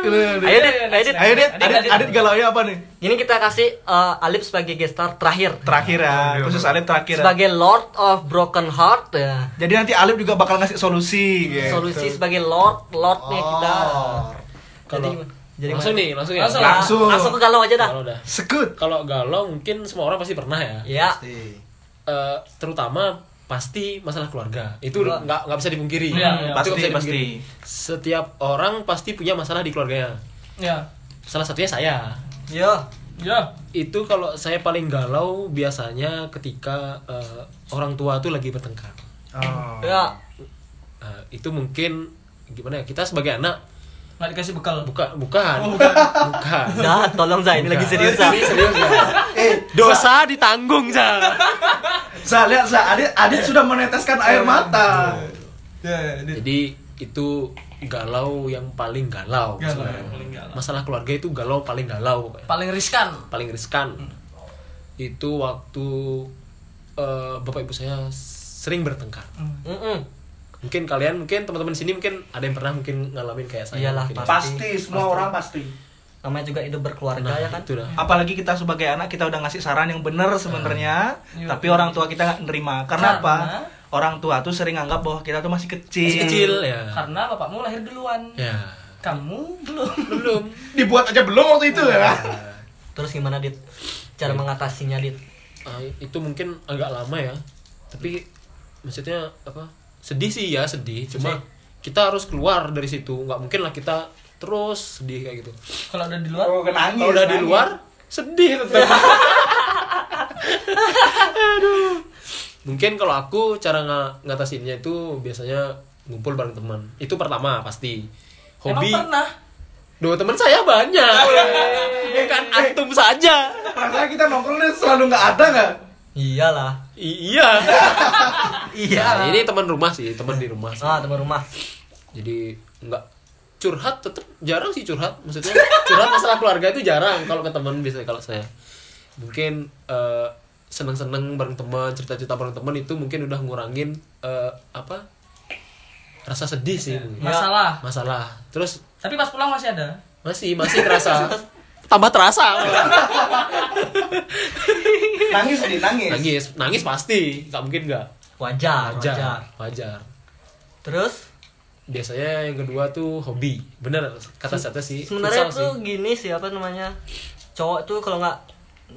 ayo dit ayo dit
Ayo, Dit. Adit, Adit galau ya apa nih?
ini kita kasih eh, Alip sebagai gestar terakhir
Terakhir ya, khusus Alif terakhir. ya.
sebagai Lord of Broken Heart ya
Jadi nanti Alif juga bakal ngasih solusi. gitu.
solusi sebagai lord lordnya kita
Oh.
jadi
kalau
gimana? Jadi
langsung
mana?
nih, langsung ya.
Langsung.
Langsung.
Langsung ke galau aja dah.
Kalau udah.
Sekut.
Kalau galau mungkin semua orang pasti pernah ya.
Ya.
Pasti.
Eh, terutama pasti masalah keluarga. Itu
Wah.
nggak nggak bisa dipungkiri.
Iya, iya.
Itu nggak
Pasti,
bisa
pasti.
dipungkiri. Setiap orang pasti punya masalah di keluarganya.
Ya.
Salah satunya saya.
Yo.
Ya.
Itu kalau saya paling galau biasanya ketika eh, orang tua tuh lagi bertengkar.
Oh.
Ya.
Eh, itu mungkin gimana ya? Kita sebagai anak
Nggak dikasih bekal.
bukan bukan <laughs> bukan.
Dah, tolong Zah, ini lagi serius Zah.
Ini <laughs> serius ya. Dosa ditanggung, Zah.
Za, lihat Za, Adit, Adit sudah meneteskan air mata. Ya,
Jadi itu galau yang paling galau.
Iya.
Galau
sebenarnya.
yang paling galau.
Masalah keluarga itu galau paling galau pokoknya.
Paling riskan.
Paling riskan. Itu waktu eh, bapak ibu saya sering bertengkar.
Mm-mm.
Mungkin kalian mungkin teman-teman di sini mungkin ada yang pernah mungkin ngalamin kayak saya.
Iyalah,
mungkin.
Pak.
ya.
Pasti, semua orang pasti.
Namanya juga hidup berkeluarga
Nah,
ya kan?
itu dah.
Apalagi kita sebagai anak kita udah ngasih saran yang bener sebenarnya,
Iya.
tapi orang tua kita nggak nerima. Karena,
Karena-
apa? Orang tua tuh sering anggap bahwa kita tuh masih kecil.
Masih kecil ya.
Karena bapakmu lahir duluan.
Ya.
Kamu belum. <laughs>
Belum.
Dibuat aja belum waktu itu ya.
Terus gimana Dit? Cara
Iya.
mengatasinya Dit?
Ah, itu mungkin agak lama ya tapi maksudnya apa sedih sih ya sedih cuma kita harus keluar dari situ nggak mungkin lah kita terus sedih kayak gitu
Kalau udah di luar.
Oh, nangis,
kalau udah di
nangis.
luar sedih tetap <laughs> aduh mungkin kalau aku cara nga- ngatasinnya itu biasanya ngumpul bareng teman itu pertama pasti hobi
Emang pernah.
dua teman saya banyak bukan antum saja
Rasanya kita nongkrongnya selalu nggak ada nggak?
Iyalah.
I- iya Nah,
Iya.
ini teman rumah sih teman di rumah sih.
Ah, teman rumah.
jadi nggak curhat tetap jarang sih curhat maksudnya curhat masalah keluarga itu jarang kalau ke teman biasanya kalau saya mungkin eh, seneng-seneng bareng teman cerita-cerita bareng teman itu mungkin udah ngurangin eh, apa rasa sedih sih mungkin.
Masalah.
masalah terus
Tapi pas pulang masih ada.
masih masih terasa tambah terasa
Nangis nih, nangis.
nangis nangis pasti nggak mungkin nggak
Wajar, wajar.
wajar wajar
Terus
biasanya yang kedua tuh hobi bener kata kata sih
sebenarnya
futsal
tuh
sih.
gini sih apa namanya? Cowok tuh kalau nggak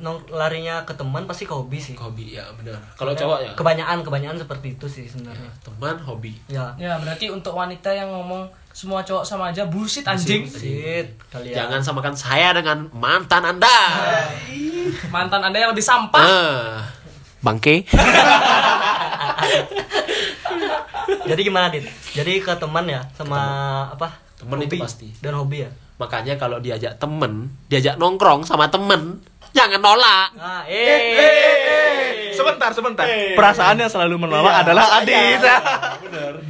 nong- larinya ke teman pasti ke hobi sih.
hobi ya bener kalau cowok ya
Kebanyakan kebanyakan seperti itu sih sebenarnya.
teman hobi
Ya.
Ya berarti untuk wanita yang ngomong semua cowok sama aja bullshit anjing.
Sit kalian.
jangan samakan saya dengan mantan anda
<laughs> Mantan Anda yang lebih
Iya.
sampah.
ah bangke
Jadi gimana Dit? Jadi ke teman ya sama apa?
Teman itu pasti.
Dan hobi ya.
makanya kalau diajak temen diajak nongkrong sama temen jangan nolak
Ah,
Eh, eh,
eh.
eh, eh. Sebentar, sebentar. Perasaan yang selalu menolak
Iya,
adalah Adit.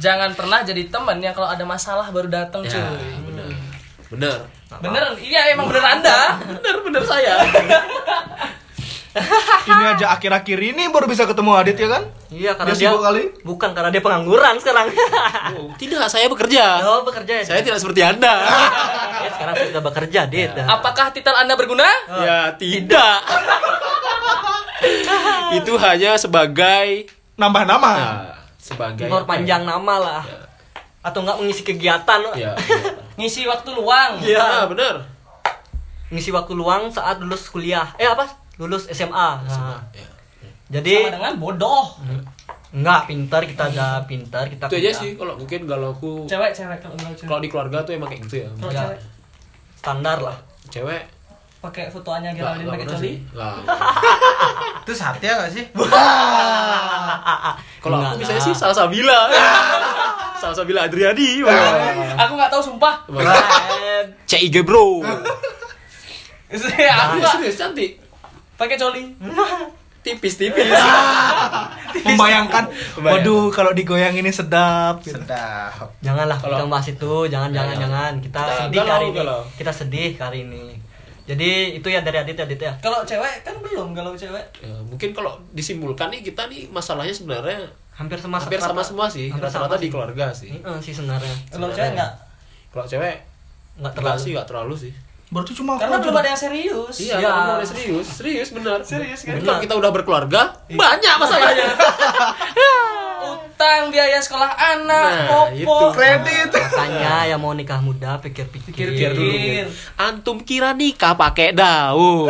Jangan pernah jadi teman yang kalau ada masalah baru datang
ya
cuy.
bener bener
Bener, iya emang bener Anda.
bener bener saya
ini aja akhir-akhir ini baru bisa ketemu Adit ya kan?
Iya karena
Dia
dia,
sibuk kali?
bukan karena dia pengangguran sekarang.
tidak saya bekerja
Oh, bekerja ya.
saya tidak seperti anda
<laughs> Ya, sekarang sudah bekerja, Dit.
Apakah titel Anda berguna?
ya
<laughs>
tidak itu hanya sebagai
Nambah nama.
ah, sebagai
Impor
apa ya?
<laughs> panjang nama lah. Atau enggak mengisi kegiatan.
ya,
Ngisi waktu luang.
ya.
Iya.
Ah, bener
Mengisi waktu luang saat lulus kuliah. Eh, apa? Lulus SMA. Nah,
Ya.
Jadi
Sama dengan bodoh.
enggak pintar kita ada pintar kita.
itu aja
pintar.
sih kalau mungkin kalau aku
Cewek, cewek kalau bilang cewek.
kalau di keluarga tuh emang kayak gitu ya
Kalau
Ya.
cewek
Standar lah.
cewek
pakai fotoannya
nggak-
Geraldine
nggak
pakai
pernah
coli.
sih.
<laughs>
Lah.
Itu Satya gak sih?
kalau
Nggak,
aku bisa
nggak.
sih <laughs> Salsabila Salsabila Adriadi wah.
<laughs> Aku nggak tahu sumpah. <laughs>
Keren.
CIG bro
aku
aku
nggak
serius cantik
pakai coli.
tipis-tipis
Iya.
<laughs> Membayangkan,
Membayangkan.
waduh kalau digoyang ini sedap. Gitu.
Sedap.
Janganlah
Kalau-
kita bahas itu, jangan jangan
Jangan.
jangan. Kita
Kita
sedih
galau,
hari ini.
galau.
Kita sedih hari ini. Jadi itu ya dari Adit ya, Adit ya.
Kalau cewek kan belum kalau cewek.
Ya, mungkin kalau disimpulkan nih kita nih masalahnya sebenarnya
Hampir sama
hampir sama semua sih
hampir sama
rata-rata
sih.
di keluarga sih
Heeh, sih sebenarnya.
Kalau cewek nggak.
kalau cewek
Enggak
terlalu
terlalu.
sih nggak terlalu sih
Berarti cuma
Karena
aku
belum
aja.
ada yang serius.
Iya,
Iya.
kalau udah serius, serius benar.
Serius, kan?
Tapi kalau kita udah berkeluarga, banyak masalahnya.
Ut- utang, biaya sekolah anak,
Nah,
popok,
itu.
Nah.
Kredit.
Makanya yang mau nikah muda pikir-pikir.
Pikir-pikir.
Pikir. Antum kira nikah pakai daun.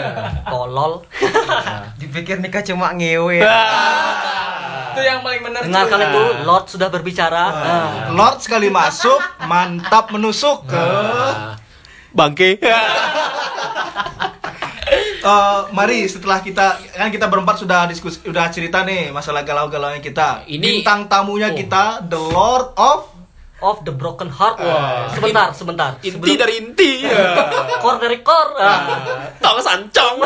<laughs>
Tolol.
Dipikir nikah cuma ngewe.
Itu yang paling benar
Dengar
cuy.
kalian itu Lord sudah berbicara. Ah.
Lord sekali masuk, mantap menusuk ke
Bangke.
Eh, mari setelah kita kan kita berempat sudah diskusi udah cerita nih masalah galau-galaunya kita.
Ini-
bintang tamunya
Oh.
kita The Lord of
Of the broken heart. Sebentar, sebentar.
Inti dari inti. Ya.
Core dari core. Ah.
Tong sancong.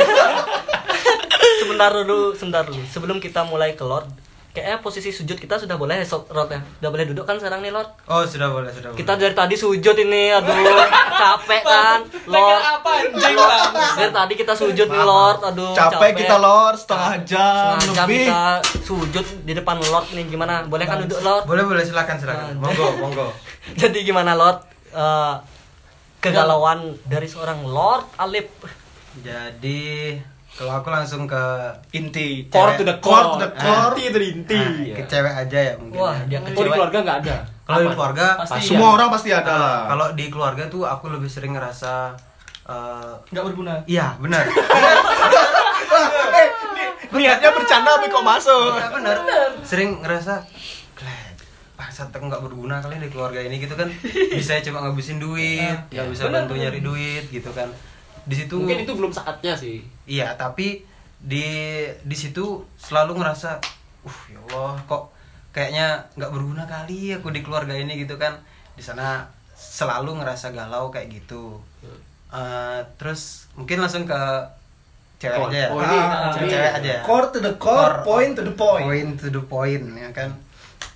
sebentar dulu, sebentar dulu. Sebelum kita mulai ke Lord, kayaknya posisi sujud kita sudah boleh ya, Sob- Lord ya. Sudah boleh duduk kan sekarang nih Lord?
Oh, sudah boleh, sudah boleh.
Kita dari tadi sujud ini,
<laughs>
aduh, capek kan,
Pegang
Lord.
apa anjing lah.
Dari tadi kita sujud nih Lord, aduh.
capek, kita Lord setengah jam
Setengah jam
lebih.
kita sujud di depan Lord nih gimana? Boleh kan duduk Lord?
Boleh, boleh, silakan,
Nah,
silakan. Monggo, monggo.
<laughs> Jadi gimana Lord? Eh, kegalauan dari seorang Lord Alip.
<laughs>
Jadi, kalau aku langsung ke
Inti.
Core to
the Nah.
core. Ah.
Inti dari inti.
ah, ke cewek aja ya mungkin.
Iya. Wah,
ya.
dia ke
Oh, di
cewek.
keluarga nggak ada.
Kalau di keluarga,
Pasti
Pasti
Semua
ya.
orang pasti ada
Nah.
lah.
ah, Iya. kalau di keluarga tuh aku lebih sering ngerasa eh,
Enggak berguna.
iya, benar.
<laughs>
eh, ni- niatnya bercanda tapi kok masuk.
Iya, benar. Sering ngerasa "Glek, bangsat aku nggak berguna kali di keluarga ini gitu kan bisa cuma ngabisin duit nggak bisa
Benar,
bantu
benar.
nyari duit gitu kan di situ
Iya. Mungkin itu belum saatnya sih.
Iya, tapi di di situ selalu ngerasa, uh ya Allah kok kayaknya nggak berguna kali aku di keluarga ini gitu kan. Di sana selalu ngerasa galau kayak gitu.
Hmm.
Eh, terus mungkin langsung ke cewek
Oh,
aja ya.
oh, ini
Ah,
cewek, cewek aja. ya.
Core to the core, point to the point.
Point to the point ya kan.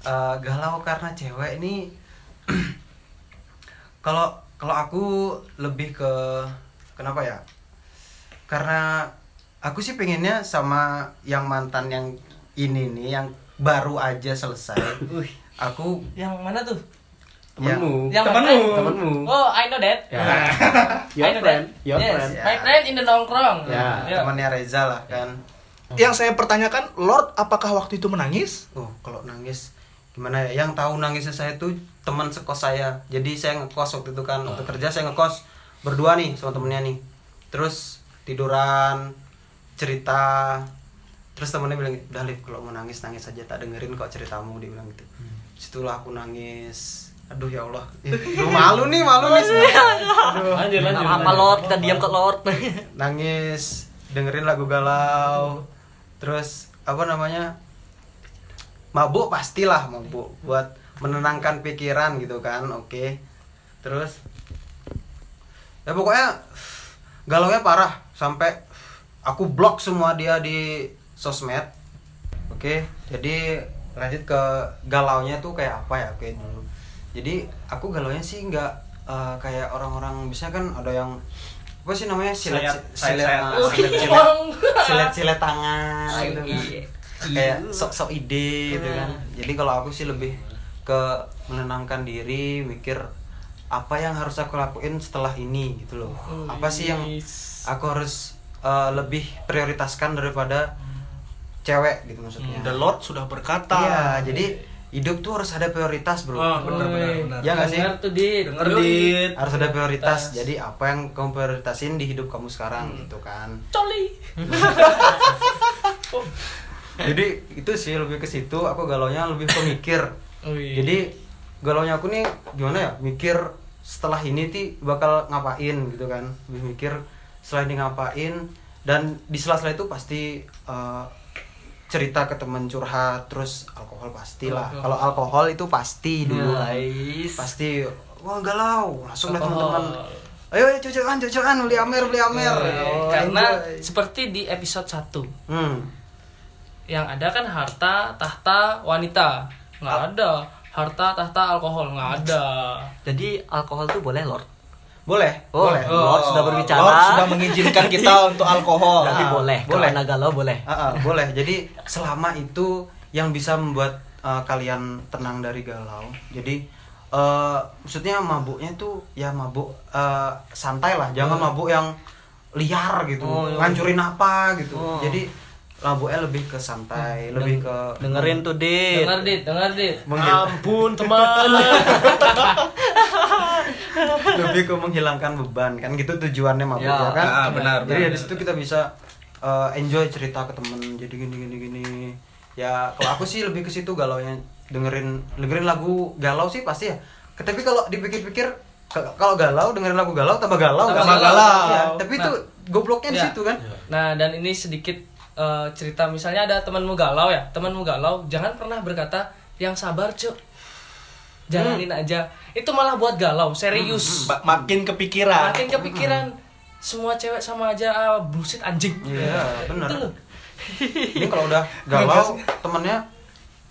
Eh, galau karena cewek ini <clears throat> kalau kalau aku lebih ke kenapa ya? Karena aku sih pengennya sama yang mantan yang ini nih yang baru aja selesai. aku
Yang mana tuh?
Temenmu.
Yang
Temenmu.
mana?
Temenmu.
Oh, I know that.
Ya.
I
<laughs> Your
know
friend.
that.
Your
yes.
friend.
Ya.
My friend in the nongkrong.
Ya,
Ya.
temannya Reza lah kan.
Yang saya pertanyakan, Lord apakah waktu itu menangis?
Oh, kalau nangis gimana ya? Yang tahu nangisnya saya tuh teman sekos saya. Jadi saya ngekos waktu itu kan, waktu kerja saya ngekos berdua nih sama temennya nih. Terus tiduran, cerita. Terus temennya bilang, "Udah Lip, kalau mau nangis nangis aja tak dengerin kok ceritamu." Dia bilang gitu. Situlah aku nangis. Aduh ya Allah. Ih, Lu malu nih, malu nih
<laughs>
sebenarnya. Aduh.
Lanjut,
Nggak
lanjut.
apa-apa Lord, kita diam kok Lord.
Nangis, dengerin lagu galau. Terus apa namanya? mabuk pastilah mabuk buat menenangkan pikiran gitu kan oke terus ya pokoknya galau nya parah sampai aku blok semua dia di sosmed oke jadi lanjut ke galau nya tuh kayak apa ya kayak dulu jadi aku galau nya sih nggak eh, kayak orang-orang biasanya kan ada yang apa sih namanya silet
Sayap-
silet
sayap-
ah,
sayap.
silet- silet silet silet tangan gitu kan
Iya. Ah.
kayak sok-sok ide gitu kan jadi kalau aku sih lebih ke menenangkan diri mikir apa yang harus aku lakuin setelah ini gitu loh
Oh,
apa sih yang
iya.
aku harus uh, lebih prioritaskan daripada cewek gitu
Hmm,
maksudnya
The Lord sudah berkata.
iya jadi hidup tuh harus ada prioritas bro
Oh,
Ah, benar benar benar.
ya nggak sih
Denger tuh, Dit.
Denger, Dit.
harus ada prioritas jadi apa yang kamu prioritasin di hidup kamu sekarang
Hmm.
gitu kan
<laughs>
Coli.
jadi itu sih lebih ke situ aku galaunya lebih ke mikir
Wih.
jadi galaunya aku nih gimana ya mikir setelah ini ti bakal ngapain gitu kan lebih mikir setelah ini ngapain dan di sela-sela itu pasti eh, cerita ke temen curhat terus alkohol pastilah
Alkohol.
kalau alkohol itu pasti dulu kan
Nice.
pasti wah galau langsung lah
Alkohol.
teman-teman ayo ayo, cocokan cocokan beli amer beli amer
Eh,
Oh,
Karena
enjoy.
seperti di episode 1
hmm.
yang ada kan harta tahta wanita nggak ada harta tahta alkohol nggak ada
<laughs> Jadi alkohol tuh boleh Lord.
boleh
Oh,
boleh
Lord sudah berbicara. Nah.
Lord sudah mengizinkan kita untuk alkohol.
Jadi
Ah,
boleh,
boleh.
boleh. Kalau galau boleh.
Ah, ah, boleh. Jadi selama itu yang bisa membuat eh, kalian tenang dari galau. Jadi eh, maksudnya mabuknya tuh ya mabuk
Hmm.
eh,
Oh, iya.
santai lah, jangan mabuk yang liar gitu, ngancurin apa gitu. Jadi mabuknya lebih ke santai lebih ke
Hmm.
Eh,
dengerin tuh dit
Dengar dit, dengar dit.
menghil-
Ampun teman.
<laughs>
lebih ke menghilangkan beban kan gitu tujuannya mabuk
Ya,
ya, kan
ah, benar,
jadi
benar.
dari situ kita bisa eh, enjoy cerita ke temen jadi gini gini gini ya kalau aku sih lebih ke situ galau dengerin dengerin lagu galau sih pasti ya tapi kalau dipikir-pikir ke- kalau galau dengerin lagu galau tambah galau nggak
Tambah
sih?
galau.
Iya, tapi
Nah.
itu gobloknya di
Ya.
situ kan
Nah, dan ini sedikit eh, cerita misalnya ada temanmu galau ya, temanmu galau, jangan pernah berkata yang sabar, Cuk. Jalanin
Hmm.
aja. Itu malah buat galau, serius.
Ba- makin kepikiran
Makin kepikiran semua cewek sama aja ah, bullshit anjing.
Hmm. Iya, benar.
Ya. Itu loh.
ini kalau udah galau temennya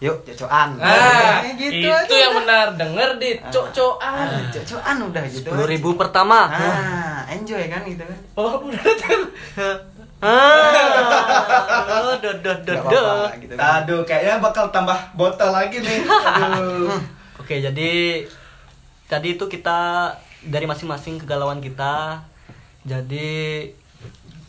yuk cocokan
Nah,
Eh,
itu yang benar. Denger dit, cok-cokan.
Ah, cocokan udah gitu
sepuluh ribu pertama
Nah.
ah enjoy kan gitu kan
Oh, udah datang.
<laughs> ah do do do
Nggak
do
apa-apa gitu kan.
aduh kayaknya bakal tambah botol lagi nih aduh
Oke, jadi tadi itu kita dari masing-masing kegalauan kita. Jadi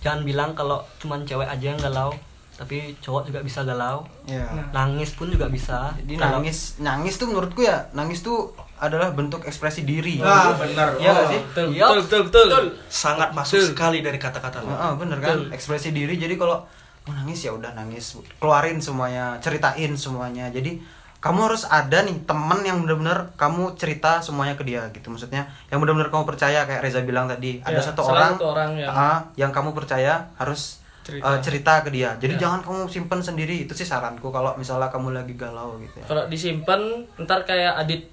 jangan bilang kalau cuman cewek aja yang galau, tapi cowok juga bisa galau.
Iya.
Nangis pun juga bisa.
Jadi
Kalau-
nangis, nangis tuh menurutku ya, nangis tuh adalah bentuk ekspresi diri.
ah benar
Iya nggak sih?
Betul,
Yup.
betul, betul, betul.
sangat masuk sekali dari kata-kata lo
Heeh, bener kan? Ekspresi diri. Jadi kalau mau nangis ya udah nangis, keluarin semuanya, ceritain semuanya. Jadi kamu harus ada nih temen yang bener-bener kamu cerita semuanya ke dia gitu maksudnya yang bener-bener kamu percaya kayak Reza bilang tadi ada
Ya,
satu
salah
orang,
satu orang yang-
ah, yang kamu percaya harus eh,
Cerita. Ya.
cerita, ke dia jadi jangan kamu simpen sendiri itu sih saranku kalau misalnya kamu lagi galau gitu ya
Kalau disimpan ntar kayak Adit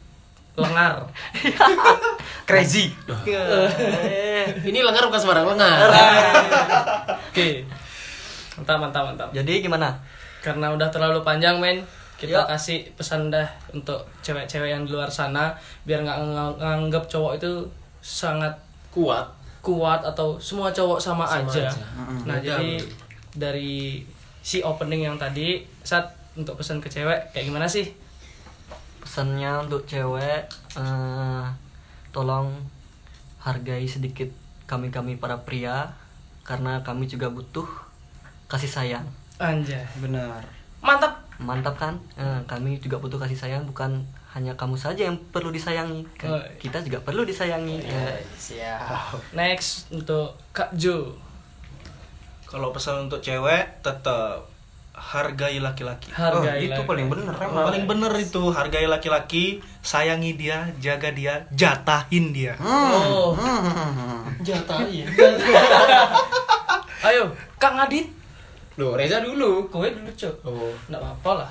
lengar.
<laughs> crazy
Eh.
Ini lengar bukan sembarang lengar.
Oke. Mantap, mantap, mantap.
Jadi gimana?
Karena udah terlalu panjang, men. Kita
Yuk.
kasih pesan dah untuk cewek-cewek yang di luar sana biar nggak ngang- nganggap cowok itu sangat
Kuat.
kuat atau semua cowok sama,
Sama
aja.
aja.
Nah,
Beda,
jadi
betul.
dari si opening yang tadi, saat untuk pesan ke cewek kayak gimana sih?
Pesannya untuk cewek eh, tolong hargai sedikit kami-kami para pria karena kami juga butuh kasih sayang.
Anjay.
benar
Mantap.
mantap kan Eh, kami juga butuh kasih sayang bukan hanya kamu saja yang perlu disayangi Kan
Oh.
kita juga perlu disayangi Eh,
siap
Next untuk Kak Jo.
kalau pesan untuk cewek tetap hargai laki-laki
oh,
Hargai
itu
lah.
paling bener emang.
paling bener itu hargai laki-laki sayangi dia jaga dia jatahin dia
Oh.
Hmm.
Jatahin.
Ayo, Kang Adit.
Loh, Reza dulu.
Kowe dulu, Cuk.
Oh.
Nggak apa-apa lah.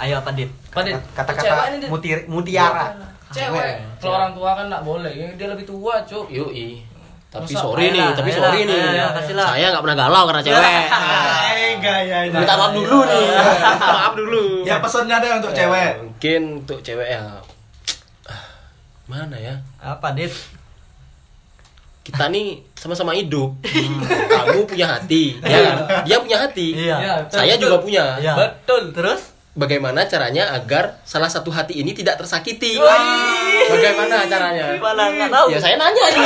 ayo apa dit
Pak Dit, cewek ini,
Kata-kata
Dit.
mutir- mutiara.
Cewek. Kalau orang tua kan nggak boleh. Dia lebih tua, Cuk.
Iya.
Yoi. Tapi
Masa-
sorry nih,
Ayolah,
tapi
ayolah,
sorry nih.
ayolah, kasihlah.
Saya nggak pernah galau karena cewek.
<laughs> eh gayanya
Minta maaf dulu nih. <laughs> Minta maaf dulu.
ya pesannya ada untuk cewek
Eh, Mungkin untuk cewek ya. ah, Mana ya?
apa dit
Kita nih sama-sama hidup. Kamu punya hati, ya kan? Dia punya hati.
Iya.
betul,
Saya
betul.
juga punya.
Iya.
Betul.
terus
Bagaimana caranya agar salah satu hati ini tidak tersakiti? Bagaimana caranya?
malah nggak tahu
Ya saya nanya aja.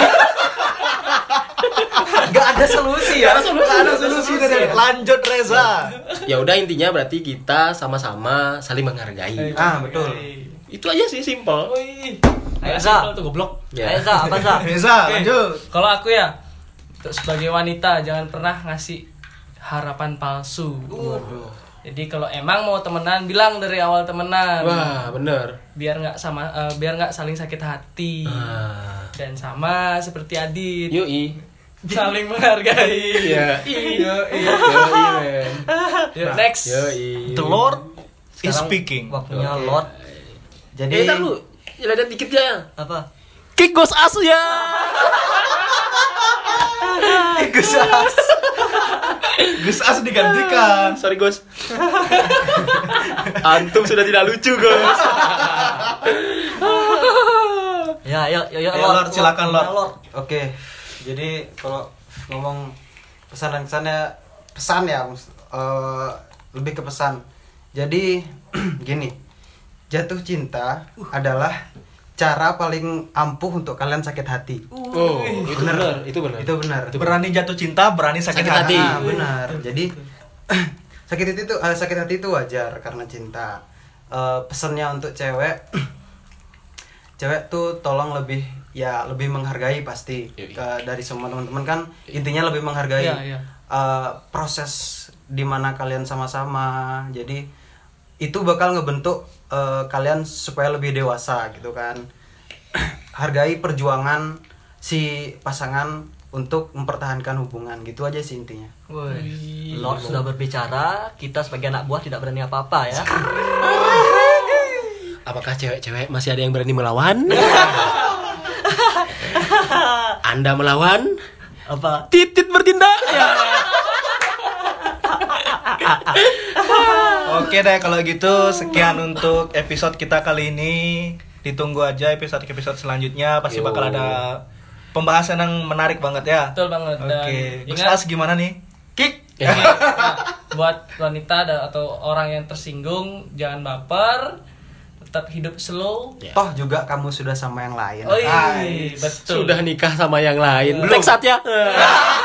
Gak ada solusi ya.
Nggak ada solusi dari lanjut Reza
ya udah intinya berarti kita sama-sama saling menghargai.
Ah, betul.
Itu aja sih simple.
Wih.
Ayo,
Ayo,
Za.
simpel tuh goblok.
Ya.
ayo Za, apa
<laughs>
Za?
Ah, Reza
Oke.
lanjut
Kalau aku ya, untuk sebagai wanita jangan pernah ngasih harapan palsu. Jadi kalau emang mau temenan, bilang dari awal temenan.
Wah, bener.
Biar nggak sama, eh, biar nggak saling sakit hati.
Ah.
Dan sama seperti Adit,
Yui.
saling
<laughs>
menghargai.
Iya.
Yoi.
Yoi, men. Nah,
Yuk, next.
Yoi.
the Lord is
Sekarang
speaking
waktunya
Oke.
lord
Jadi
Ya,
Eh, ntar lu. Jeladan dikit ya.
apa
Kick goes asu ya.
<laughs> Gus As digantikan
Ah, Sorry, Gos. Antum sudah tidak lucu, Gos.
ya ayo ayo, ayo,
Ayo, Lord, silakan, Lord.
Ya,
oke. Jadi kalau ngomong pesan dan kesannya pesan ya eh, lebih ke pesan. Jadi <clears throat> gini. Jatuh cinta adalah cara paling ampuh untuk kalian sakit hati.
Oh, itu benar, itu benar.
Uh. Itu benar.
berani jatuh cinta berani sakit,
Sakit
hati,
hati.
Ah, benar. Jadi <clears throat> sakit hati itu eh, sakit hati itu wajar karena cinta Eh, pesennya untuk cewek <clears throat> cewek tuh tolong lebih ya lebih menghargai pasti
Yoi.
Eh, dari semua teman-teman kan intinya lebih menghargai
Iya, iya.
eh, proses dimana kalian sama-sama jadi itu bakal ngebentuk eh, kalian supaya lebih dewasa gitu kan <clears throat> hargai perjuangan si pasangan untuk mempertahankan hubungan gitu aja sih intinya
Woi, Lord sudah berbicara, kita sebagai anak buah tidak berani apa-apa ya.
Apakah cewek-cewek masih ada yang berani <laughs> melawan? Anda melawan?
Apa?
Titit bertindak. Ya.
Oke deh kalau gitu sekian untuk episode kita kali ini. Ditunggu aja episode-episode selanjutnya pasti
Yo.
bakal ada pembahasan yang menarik banget ya.
Betul banget.
Oke.
Dan
Gus
ingat- nah,
As gimana nih? Kick.
Eh, <laughs>
buat wanita ada- atau orang yang tersinggung jangan baper tetap hidup slow
Ya.
toh juga
Nah,
kamu sudah sama yang lain
Oi,
Nice.
betul
Sudah nikah sama yang lain. Belum saatnya.